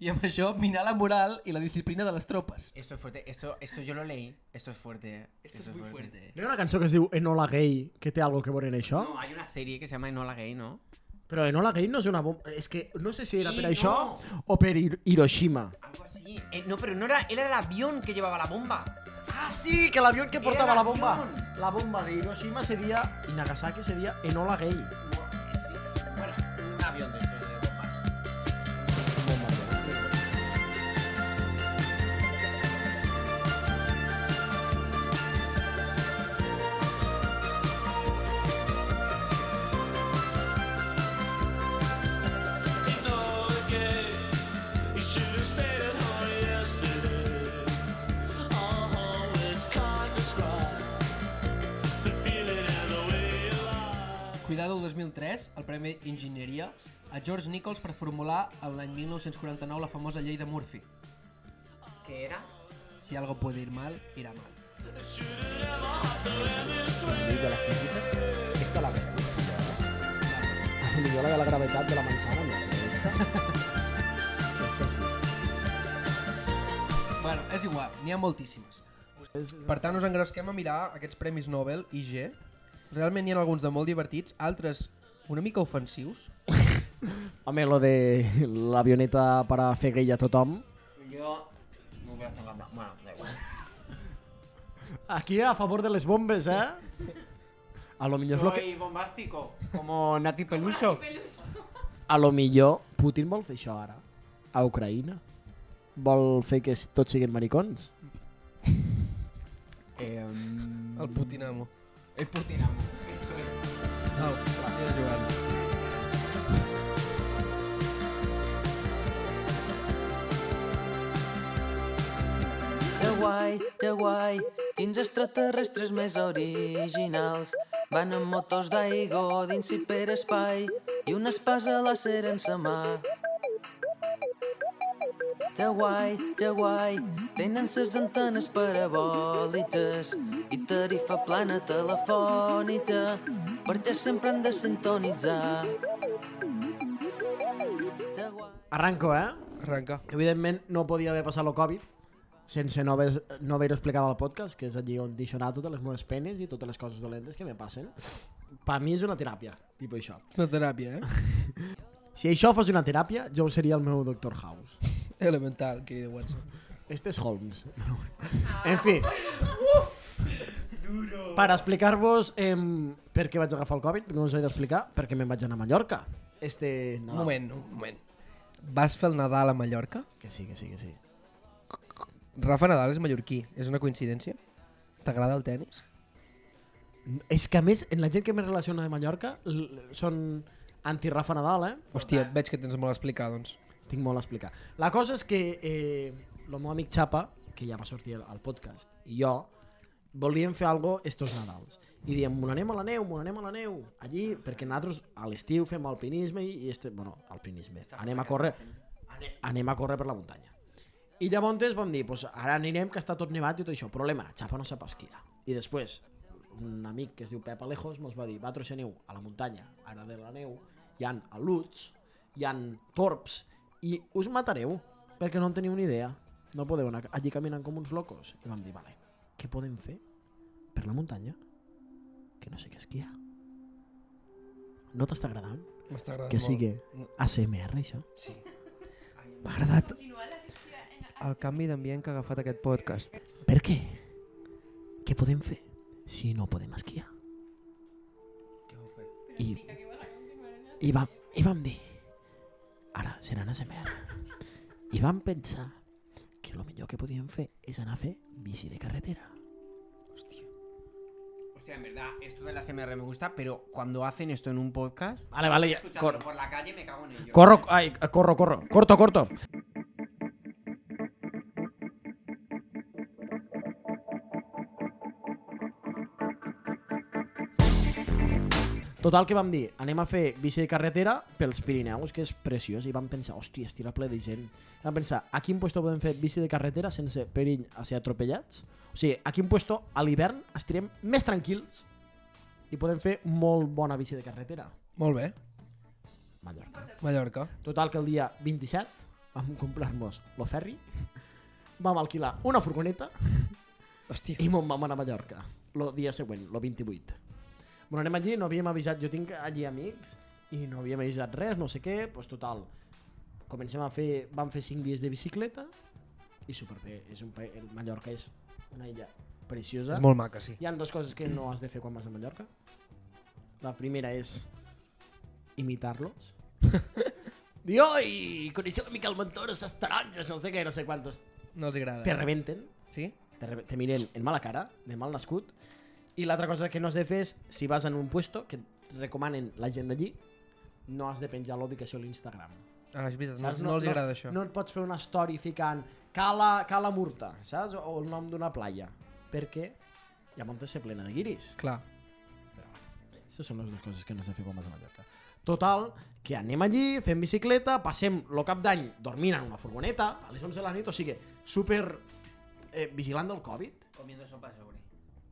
[SPEAKER 5] i amb això minar la moral i la disciplina de les tropes.
[SPEAKER 6] Esto es fuerte, esto, esto yo lo leí. Esto es fuerte. eh.
[SPEAKER 5] Esto es muy fuerte.
[SPEAKER 3] Hi ha una cançó que es diu Enola Gay, que té algo que veure en això.
[SPEAKER 6] No, hay una serie que se llama Enola Gay, ¿no?
[SPEAKER 3] Però Enola Gay no és una bomba... És que no sé si era
[SPEAKER 6] Sí,
[SPEAKER 3] per
[SPEAKER 6] no.
[SPEAKER 3] això o per Hir- Hiroshima.
[SPEAKER 6] Algo así. Eh, no, pero no era, era el avión que llevaba la bomba.
[SPEAKER 3] Ah, sí, que l'avió que
[SPEAKER 6] portava la bomba.
[SPEAKER 3] La bomba de Hiroshima seria... I Nagasaki seria Enola Gay.
[SPEAKER 6] Bueno, un avión de estos de bombas.
[SPEAKER 5] Cuidado el 2003, el Premi Enginyeria a George Nichols per formular en l'any 1949 la famosa llei de Murphy.
[SPEAKER 6] ¿Qué era?
[SPEAKER 5] Si algo puede ir mal, irá mal.
[SPEAKER 3] de la física? Esta la ves Millor la de la gravetat de la manzana, no. però Esta? Esta sí.
[SPEAKER 5] Bueno, és igual, n'hi ha moltíssimes. Per tant, us engrosquem a mirar aquests Premis Nobel IG. Realment n'hi ha alguns de molt divertits, altres una mica ofensius.
[SPEAKER 3] Home, lo de l'avioneta per a fer gay a tothom.
[SPEAKER 6] Yo. No voy a estar hablando. Bueno, da igual.
[SPEAKER 3] Aquí a favor de les bombes, eh? A lo millor, és lo que,
[SPEAKER 6] Soy bombástico. Como Nati Peluso.
[SPEAKER 3] a lo millor Putin vol fer això ara. A Ucraïna. Vol fer que s- tots siguin maricons.
[SPEAKER 5] El Putinamo.
[SPEAKER 6] El Putinamo.
[SPEAKER 5] Au, gràcies, Joan.
[SPEAKER 9] Que guai, que guai, quins extraterrestres més originals. Van amb motos d'aigua dins hiperespai i una espasa láser en sa mà. Que guai, que guai, tenen ses antenes parabòliques i tarifa plana telefònica perquè sempre han de sintonitzar. Que guai.
[SPEAKER 3] Arranco, eh?
[SPEAKER 5] Arrenca.
[SPEAKER 3] Evidentment no podia haver passat el Covid sense no haver, no haver explicat al podcast, que és allí on deixo anar totes les meves penes i totes les coses dolentes que me passen. Per mi és una teràpia, tipus això.
[SPEAKER 5] És una teràpia, eh?
[SPEAKER 3] Si això fos una teràpia, jo seria el meu Doctor House.
[SPEAKER 5] Elemental, querido Watson.
[SPEAKER 3] Este és Holmes. en fi. Duro. Per explicar-vos em, per què vaig agafar el Covid, no us he d'explicar, perquè me'n vaig anar a Mallorca. Este...
[SPEAKER 5] Un
[SPEAKER 3] Nadal.
[SPEAKER 5] moment, un moment. Vas fer el Nadal a Mallorca?
[SPEAKER 3] Que sí, que sí, que sí.
[SPEAKER 5] Rafa Nadal és mallorquí, és una coincidència? T'agrada el tennis?
[SPEAKER 3] És que a més, en la gent que me relaciona de Mallorca l- l- són anti-Rafa Nadal, eh?
[SPEAKER 5] Hòstia, veig que tens molt a explicar, doncs.
[SPEAKER 3] Tinc molt a explicar. La cosa és que eh, el meu amic Xapa, que ja va sortir al- al podcast, i jo volíem fer algo estos Nadals. I diem, m'on anem a la neu, m'on anem a la neu, allí, perquè nosaltres a l'estiu fem alpinisme i, i este, bueno, alpinisme, anem a córrer, ane- anem a córrer per la muntanya. I llavors vam dir, pues, ara anirem que està tot nevat i tot això. Problema, Xapa no sap esquiar. I després, un amic que es diu Pep Alejos mos va dir, va trobar neu a la muntanya, ara de la neu, hi han aluts, hi han torps, i us matareu, perquè no en teniu ni idea. No podeu anar allí caminant com uns locos. I vam dir, vale, què podem fer per la muntanya que no sé què esquiar? No t'està agradant?
[SPEAKER 5] M'està agradant
[SPEAKER 3] Que
[SPEAKER 5] molt.
[SPEAKER 3] sigui ASMR, això?
[SPEAKER 5] Sí. M'ha agradat el canvi d'ambient que ha agafat aquest podcast.
[SPEAKER 3] Per què? Què podem fer si no podem esquiar? I, i, va, I vam dir, ara seran ASMR. I vam pensar que el millor que podíem fer és anar a fer bici de carretera.
[SPEAKER 6] Hostia, en verdad, esto de la SMR me gusta, pero cuando hacen esto en un podcast,
[SPEAKER 3] Vale, vale, ja,
[SPEAKER 6] escuchando por la calle me cago en ello.
[SPEAKER 3] Corro, ay, corro, corro. Corto, corto. Total, que vam dir? Anem a fer bici de carretera pels Pirineus, que és preciós, i vam pensar, hòstia, estirà ple de gent. Vam pensar, a quin puesto podem fer bici de carretera sense perill a ser atropellats? O sigui, a quin puesto a l'hivern estirem més tranquils i podem fer molt bona bici de carretera.
[SPEAKER 5] Molt bé.
[SPEAKER 3] Mallorca.
[SPEAKER 5] Mallorca.
[SPEAKER 3] Total, que el dia 27 vam comprar-nos lo ferri, vam alquilar una furgoneta
[SPEAKER 5] Hòstia.
[SPEAKER 3] i mos vam anar a Mallorca. Lo dia següent, lo 28. Bueno, anem allí, no havíem avisat, jo tinc allí amics i no havíem avisat res, no sé què, doncs pues, total, comencem a fer, vam fer 5 dies de bicicleta i superbé, és un, pa- el Mallorca és una illa preciosa.
[SPEAKER 5] És molt maca, sí.
[SPEAKER 3] Hi han dues coses que no has de fer quan vas a Mallorca. La primera és imitar-los. Dir, oi, coneixeu una mica el Montoro, ses taronges, no sé què, no sé quantos.
[SPEAKER 5] No els agrada.
[SPEAKER 3] Te rebenten,
[SPEAKER 5] Sí?
[SPEAKER 3] te, re te miren en mala cara, de mal nascut. I l'altra cosa que no has de fer és, si vas en un puesto que et recomanen la gent d'allí, no has de penjar l'ubicació a l'Instagram.
[SPEAKER 5] Ah, és veritat, no,
[SPEAKER 3] Saps?
[SPEAKER 5] no, els agrada això.
[SPEAKER 3] No et pots fer una story ficant Cala, Cala Murta, saps? O el nom d'una playa. Perquè llavors se plena de guiris.
[SPEAKER 5] Clar.
[SPEAKER 3] Aquestes són les dues coses que no sé fer quan vas a Mallorca. Total, que anem allí, fem bicicleta, passem lo cap d'any dormint en una furgoneta, a les 11 de la nit, o sigui, super eh, vigilant del Covid,
[SPEAKER 6] Comiendo sopa sobre.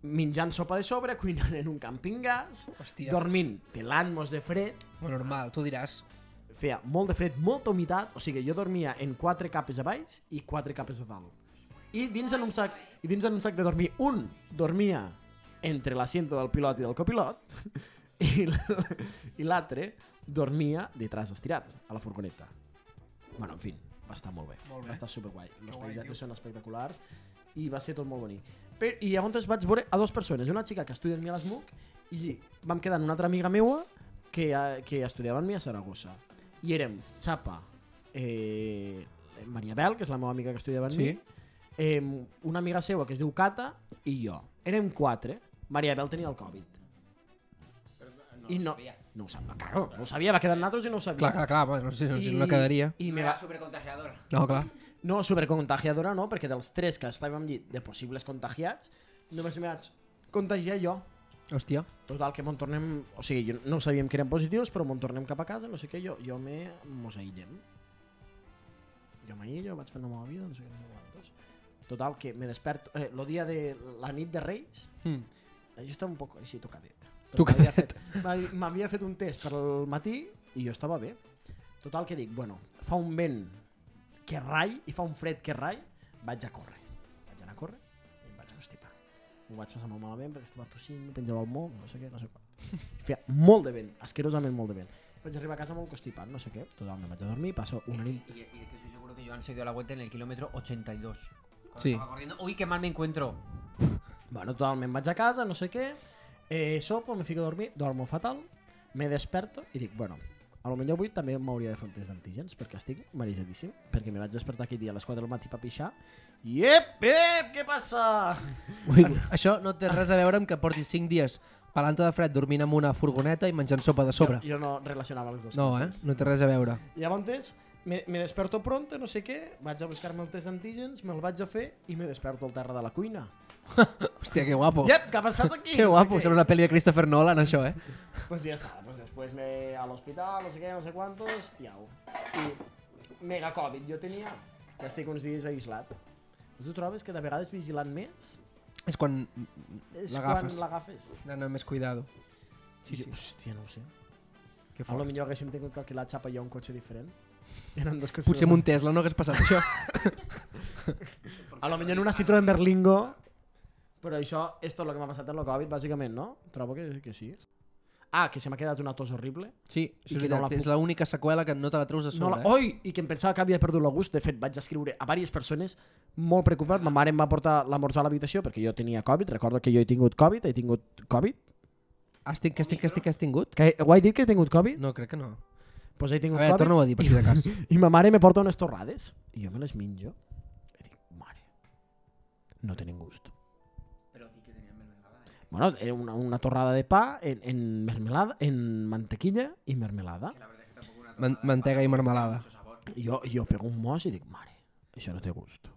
[SPEAKER 3] menjant sopa de sobre, cuinant en un camping gas,
[SPEAKER 5] Hòstia.
[SPEAKER 3] dormint, pelant-nos de fred,
[SPEAKER 5] Bueno, normal, tu diràs.
[SPEAKER 3] feia molt de fred, molta humitat, o sigui, jo dormia en quatre capes a baix i quatre capes a dalt. I dins en un sac, i dins en un sac de dormir, un dormia entre l'asiento del pilot i del copilot i l- i l'altre dormia de traç estirat a la furgoneta. Bueno, en fi, va estar molt bé.
[SPEAKER 5] Molt bé.
[SPEAKER 3] Va estar superguai. Els
[SPEAKER 5] guai, tio.
[SPEAKER 3] paisatges són espectaculars i va ser tot molt bonic. Per, I llavors vaig veure a dues persones, una xica que estudia amb mi a l'ESMUC i vam quedar amb una altra amiga meua que, eh, que estudiava amb mi a Saragossa. I érem Xapa, eh, Maria Bel, que és la meva amiga que estudiava amb
[SPEAKER 5] Sí.
[SPEAKER 3] mi, eh, una amiga seva que es diu Cata i jo. Érem quatre. Maria Bel tenia el Covid. no I no, no ho sabia, claro, no ho sabia, va quedar amb nosaltres i no ho sabia.
[SPEAKER 5] Clar, clar, clar, bueno, si no, si no quedaria.
[SPEAKER 3] I me va...
[SPEAKER 6] Era súper contagiador.
[SPEAKER 5] No, clar.
[SPEAKER 3] No, supercontagiadora no, perquè dels tres que estàvem al llit de possibles contagiats, només me vaig contagiar jo.
[SPEAKER 5] Hòstia.
[SPEAKER 3] Total, que mon tornem... O sigui, jo- no sabíem que eren positius, però mon tornem cap a casa, no sé què, jo, jo me... mos aïllem. Jo m'aïllo, vaig fer la meva vida, no sé què, no sé quantos. Total, que me desperto... Eh, lo dia de la nit de Reis, eh,
[SPEAKER 5] Hmm.
[SPEAKER 3] jo estava un poc així tocadet. Però
[SPEAKER 5] Tocadet.
[SPEAKER 3] m'havia fet- m'havi- M'havia fet un test per al matí i jo estava bé. Total que dic, bueno, fa un vent que rai i fa un fred que rai, vaig a córrer. Vaig anar a córrer i em vaig constipar. Mm. M'ho vaig passar molt malament perquè estava tossint, penjava el moc, no sé què, no sé quant. Feia molt de vent, asquerosament molt de vent. Vaig arribar a casa molt constipat, no sé què. Total, me vaig a dormir, passo una nit
[SPEAKER 6] Y, y es que estoy seguro que Joan se dio la vuelta en el kilómetro 82. Cuando
[SPEAKER 5] Sí.
[SPEAKER 6] estaba corriendo, Uy, qué mal me encuentro.
[SPEAKER 3] Bueno, total, me'n vaig a casa, no sé què, eh, sopo, me fico a dormir, dormo fatal, me desperto i dic, bueno, a lo millor avui també m'hauria de fer un test d'antígens perquè estic marejadíssim, perquè me vaig despertar aquell dia a les 4 del matí per pixar i ep, ep, què passa?
[SPEAKER 5] Ui, això no té res a veure amb que portis 5 dies pelanta de fred dormint en una furgoneta i menjant sopa de sobre.
[SPEAKER 3] Jo, jo no relacionava les dues
[SPEAKER 5] No, eh?
[SPEAKER 3] coses.
[SPEAKER 5] No té res a veure.
[SPEAKER 3] I Llavors, me, me desperto pronto, no sé què, vaig a buscar-me el test d'antígens, me'l vaig a fer i me desperto al terra de la cuina.
[SPEAKER 5] Hòstia, que guapo.
[SPEAKER 3] Yep, què ha passat aquí?
[SPEAKER 5] Oh. Que
[SPEAKER 3] No sé
[SPEAKER 5] guapo,
[SPEAKER 3] què. Doncs
[SPEAKER 5] sembla una pel·li de Christopher Nolan, això, eh?
[SPEAKER 3] Pues ya está, pues después me al hospital, no sé qué, no sé cuántos, i au. I mega Covid jo tenia, que estic uns dies aislat. Tu trobes que de vegades vigilant més
[SPEAKER 5] És quan
[SPEAKER 3] és quan
[SPEAKER 5] l'agafes.
[SPEAKER 3] l'agafes?
[SPEAKER 5] D'anar més cuidado. Sí,
[SPEAKER 3] Sí, sí.
[SPEAKER 5] sí.
[SPEAKER 3] Hòstia, no ho sé.
[SPEAKER 5] Que
[SPEAKER 3] A lo
[SPEAKER 5] fort.
[SPEAKER 3] millor haguéssim tingut que alquilar xapa jo un cotxe diferent. Eren dos cotxes.
[SPEAKER 5] Potser amb un Tesla no hagués passat això.
[SPEAKER 3] A lo millor en una Citroën Berlingo. Però això és tot el que m'ha passat en el Covid, bàsicament, no? Trobo que, que sí. Ah, que se m'ha quedat una tos horrible.
[SPEAKER 5] Sí,
[SPEAKER 3] I
[SPEAKER 5] això és
[SPEAKER 3] que no la
[SPEAKER 5] veritat. És
[SPEAKER 3] puc-
[SPEAKER 5] l'única seqüela que no te la Oh! treus de
[SPEAKER 3] No
[SPEAKER 5] sobre. eh?
[SPEAKER 3] la, oi, i que em pensava que havia perdut el gust. De fet, vaig escriure a diverses persones molt preocupat. Ma mare em va portar l'almorzar a l'habitació perquè jo tenia Covid. Recordo que jo he tingut Covid, he tingut Covid.
[SPEAKER 5] eh? Has tingut, que has tingut, que has tingut, que has tingut?
[SPEAKER 3] Que, ho he dit que he tingut Covid?
[SPEAKER 5] No, crec que no.
[SPEAKER 3] Doncs pues he
[SPEAKER 5] A
[SPEAKER 3] tingut
[SPEAKER 5] veure,
[SPEAKER 3] Covid.
[SPEAKER 5] torna-ho a dir, per si de cas.
[SPEAKER 3] I ma mare me porta unes torrades i jo me les menjo. I dic, mare, no tenen gust. Però que tenien mermelada. Bueno, era una, una torrada de pa en, en mermelada, en mantequilla i mermelada.
[SPEAKER 5] Man mantega i marmelada.
[SPEAKER 3] I jo, jo pego un mos i dic, mare, això no té gust.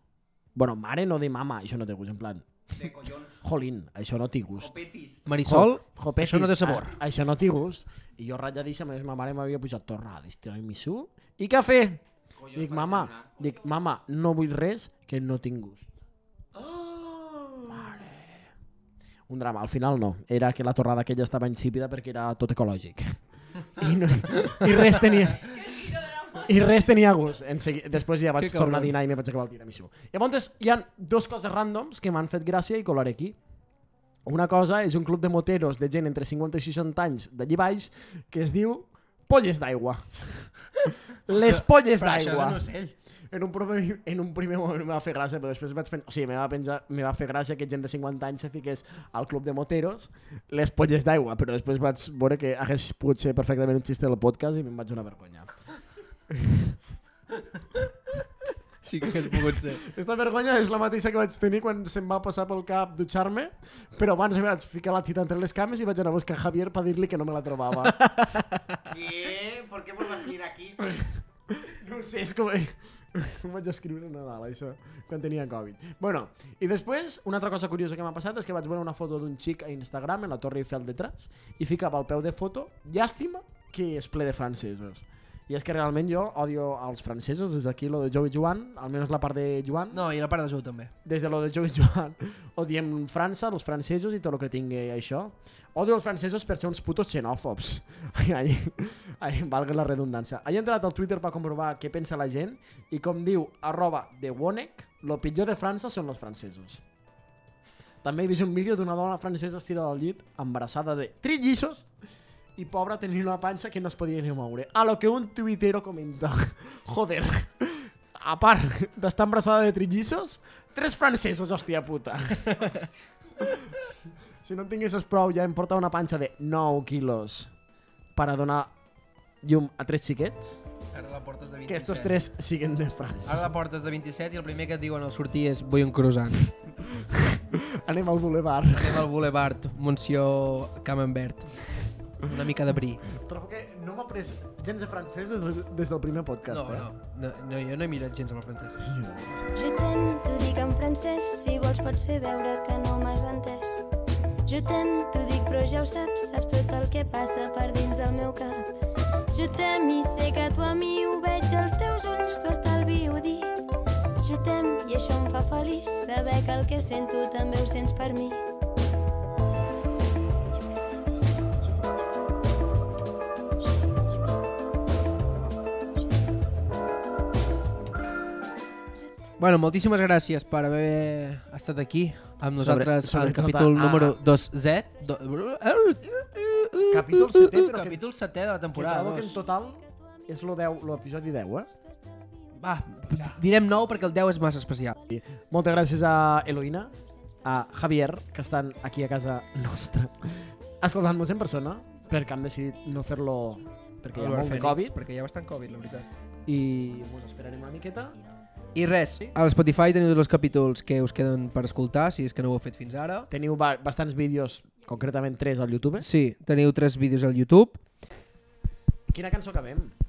[SPEAKER 3] Bueno, mare no de mama, això no té gust, en plan,
[SPEAKER 6] De collons.
[SPEAKER 3] jolín, això no té gust.
[SPEAKER 6] Petis.
[SPEAKER 5] Marisol,
[SPEAKER 3] Jo- jopetis,
[SPEAKER 5] això no té sabor.
[SPEAKER 3] A, "Ah, això no té gust. I jo ratlladíssim, ma mare m'havia pujat torrades, tiramisú i cafè.
[SPEAKER 6] Collons,
[SPEAKER 3] Dic,
[SPEAKER 6] per
[SPEAKER 3] mama,
[SPEAKER 6] desayunar.
[SPEAKER 3] dic, mama, no vull res que no tinc gust.
[SPEAKER 6] Oh!
[SPEAKER 3] Mare. Un drama, al final no. Era que la torrada aquella estava insípida perquè era tot ecològic. I, no, i res tenia... I res tenia gust. En segui... Després ja vaig
[SPEAKER 5] Que cabrons.
[SPEAKER 3] tornar a dinar i me vaig acabar el tiramisú. Llavors, hi ha dos coses randoms que m'han fet gràcia i colaré aquí. Una cosa és un club de moteros de gent entre 50 i 60 anys d'allí baix que es diu Polles d'aigua. Les polles
[SPEAKER 5] Però això és
[SPEAKER 3] d'aigua.
[SPEAKER 5] un ocell.
[SPEAKER 3] En un, primer, en un primer moment em va fer gràcia, però després vaig pensar... O sigui, me va, pensar, me va fer gràcia que gent de 50 anys se fiqués al club de moteros les polles d'aigua, però després vaig veure que hagués pogut ser perfectament un xiste del podcast i me'n vaig donar vergonya.
[SPEAKER 5] Sí que hagués pogut ser.
[SPEAKER 3] Aquesta vergonya és la mateixa que vaig tenir quan se'm va passar pel cap dutxar-me, però abans em vaig ficar la tita entre les cames i vaig anar a buscar Javier per dir-li que no me la trobava.
[SPEAKER 6] ¿Qué? ¿Por qué vuelvo a salir aquí?
[SPEAKER 3] No ho sé, és com... Ho vaig escriure a Nadal, això, quan tenia Covid. Bueno, i després, una altra cosa curiosa que m'ha passat és que vaig veure una foto d'un xic a Instagram en la Torre Eiffel detrás i ficava al peu de foto, llàstima que és ple de francesos. I és que realment jo odio els francesos, des d'aquí lo de Joe i Joan, almenys la part de Joan,
[SPEAKER 5] No, i la part de Jou també.
[SPEAKER 3] des de lo de Joe i Joan, odiem França, els francesos i tot el que tingui això. Odio els francesos per ser uns putos xenòfobs. Ai, ai, ai, valga la redundància. He entrat al Twitter per comprovar què pensa la gent i com diu arroba de Wonek, lo pitjor de França són els francesos. També he vist un vídeo d'una dona francesa estirada al llit, embarassada de trillissos i pobra tenint una panxa que no es podia ni moure. A lo que un tuitero comenta, joder, a part d'estar embarassada de trillizos, tres francesos, hòstia puta. si no en tinguessis prou, ja em porta una panxa de 9 quilos per a donar llum a tres xiquets,
[SPEAKER 5] Ara la portes de 27.
[SPEAKER 3] que estos tres siguen de
[SPEAKER 5] Ara
[SPEAKER 3] França.
[SPEAKER 5] la portes de 27 i el primer que et diuen al sortir és vull un croissant.
[SPEAKER 3] Anem al boulevard.
[SPEAKER 5] Anem al Boulevard Montsió Camembert. Una mica de bri.
[SPEAKER 3] Trobo que no m'ha pres gens de francès des, des del primer podcast,
[SPEAKER 5] No,
[SPEAKER 3] eh?
[SPEAKER 5] no, no, no, jo no he mirat gens amb el francès.
[SPEAKER 10] Je t'aime, t'ho dic en francès, si vols pots fer veure que no m'has entès. Je t'aime, t'ho dic però ja ho saps, saps tot el que passa per dins del meu cap. Je t'aime i sé que tu a mi ho veig als teus ulls, tu estalvio dir. Je t'aime i això em fa feliç, saber que el que sento també ho sents per mi.
[SPEAKER 5] Bueno, moltíssimes gràcies per haver estat aquí amb nosaltres
[SPEAKER 3] Sobre-
[SPEAKER 5] al
[SPEAKER 3] sobretot
[SPEAKER 5] capítol
[SPEAKER 3] a-
[SPEAKER 5] número
[SPEAKER 3] a-
[SPEAKER 5] 2Z. Do...
[SPEAKER 3] Capítol setè, però que-
[SPEAKER 5] Capítol 7 de la
[SPEAKER 3] Que
[SPEAKER 5] temporada.
[SPEAKER 3] trobo que en
[SPEAKER 5] dos.
[SPEAKER 3] total és lo 10, l'episodi 10, eh?
[SPEAKER 5] Va, direm 9 perquè el 10 és massa especial.
[SPEAKER 3] Moltes gràcies a Eloïna, a Javier, que estan aquí a casa nostra, escoltant-nos en persona, perquè han decidit no fer-lo perquè hi ha molt de Covid
[SPEAKER 5] Perquè hi ha bastant Covid, la veritat.
[SPEAKER 3] i us esperarem una miqueta.
[SPEAKER 5] I res, al Spotify teniu tots els capítols que us queden per escoltar, si és que no ho heu fet fins ara.
[SPEAKER 3] Teniu ba- bastants vídeos, concretament tres al YouTube.
[SPEAKER 5] Sí, teniu tres vídeos al YouTube.
[SPEAKER 3] Quina cançó acabem?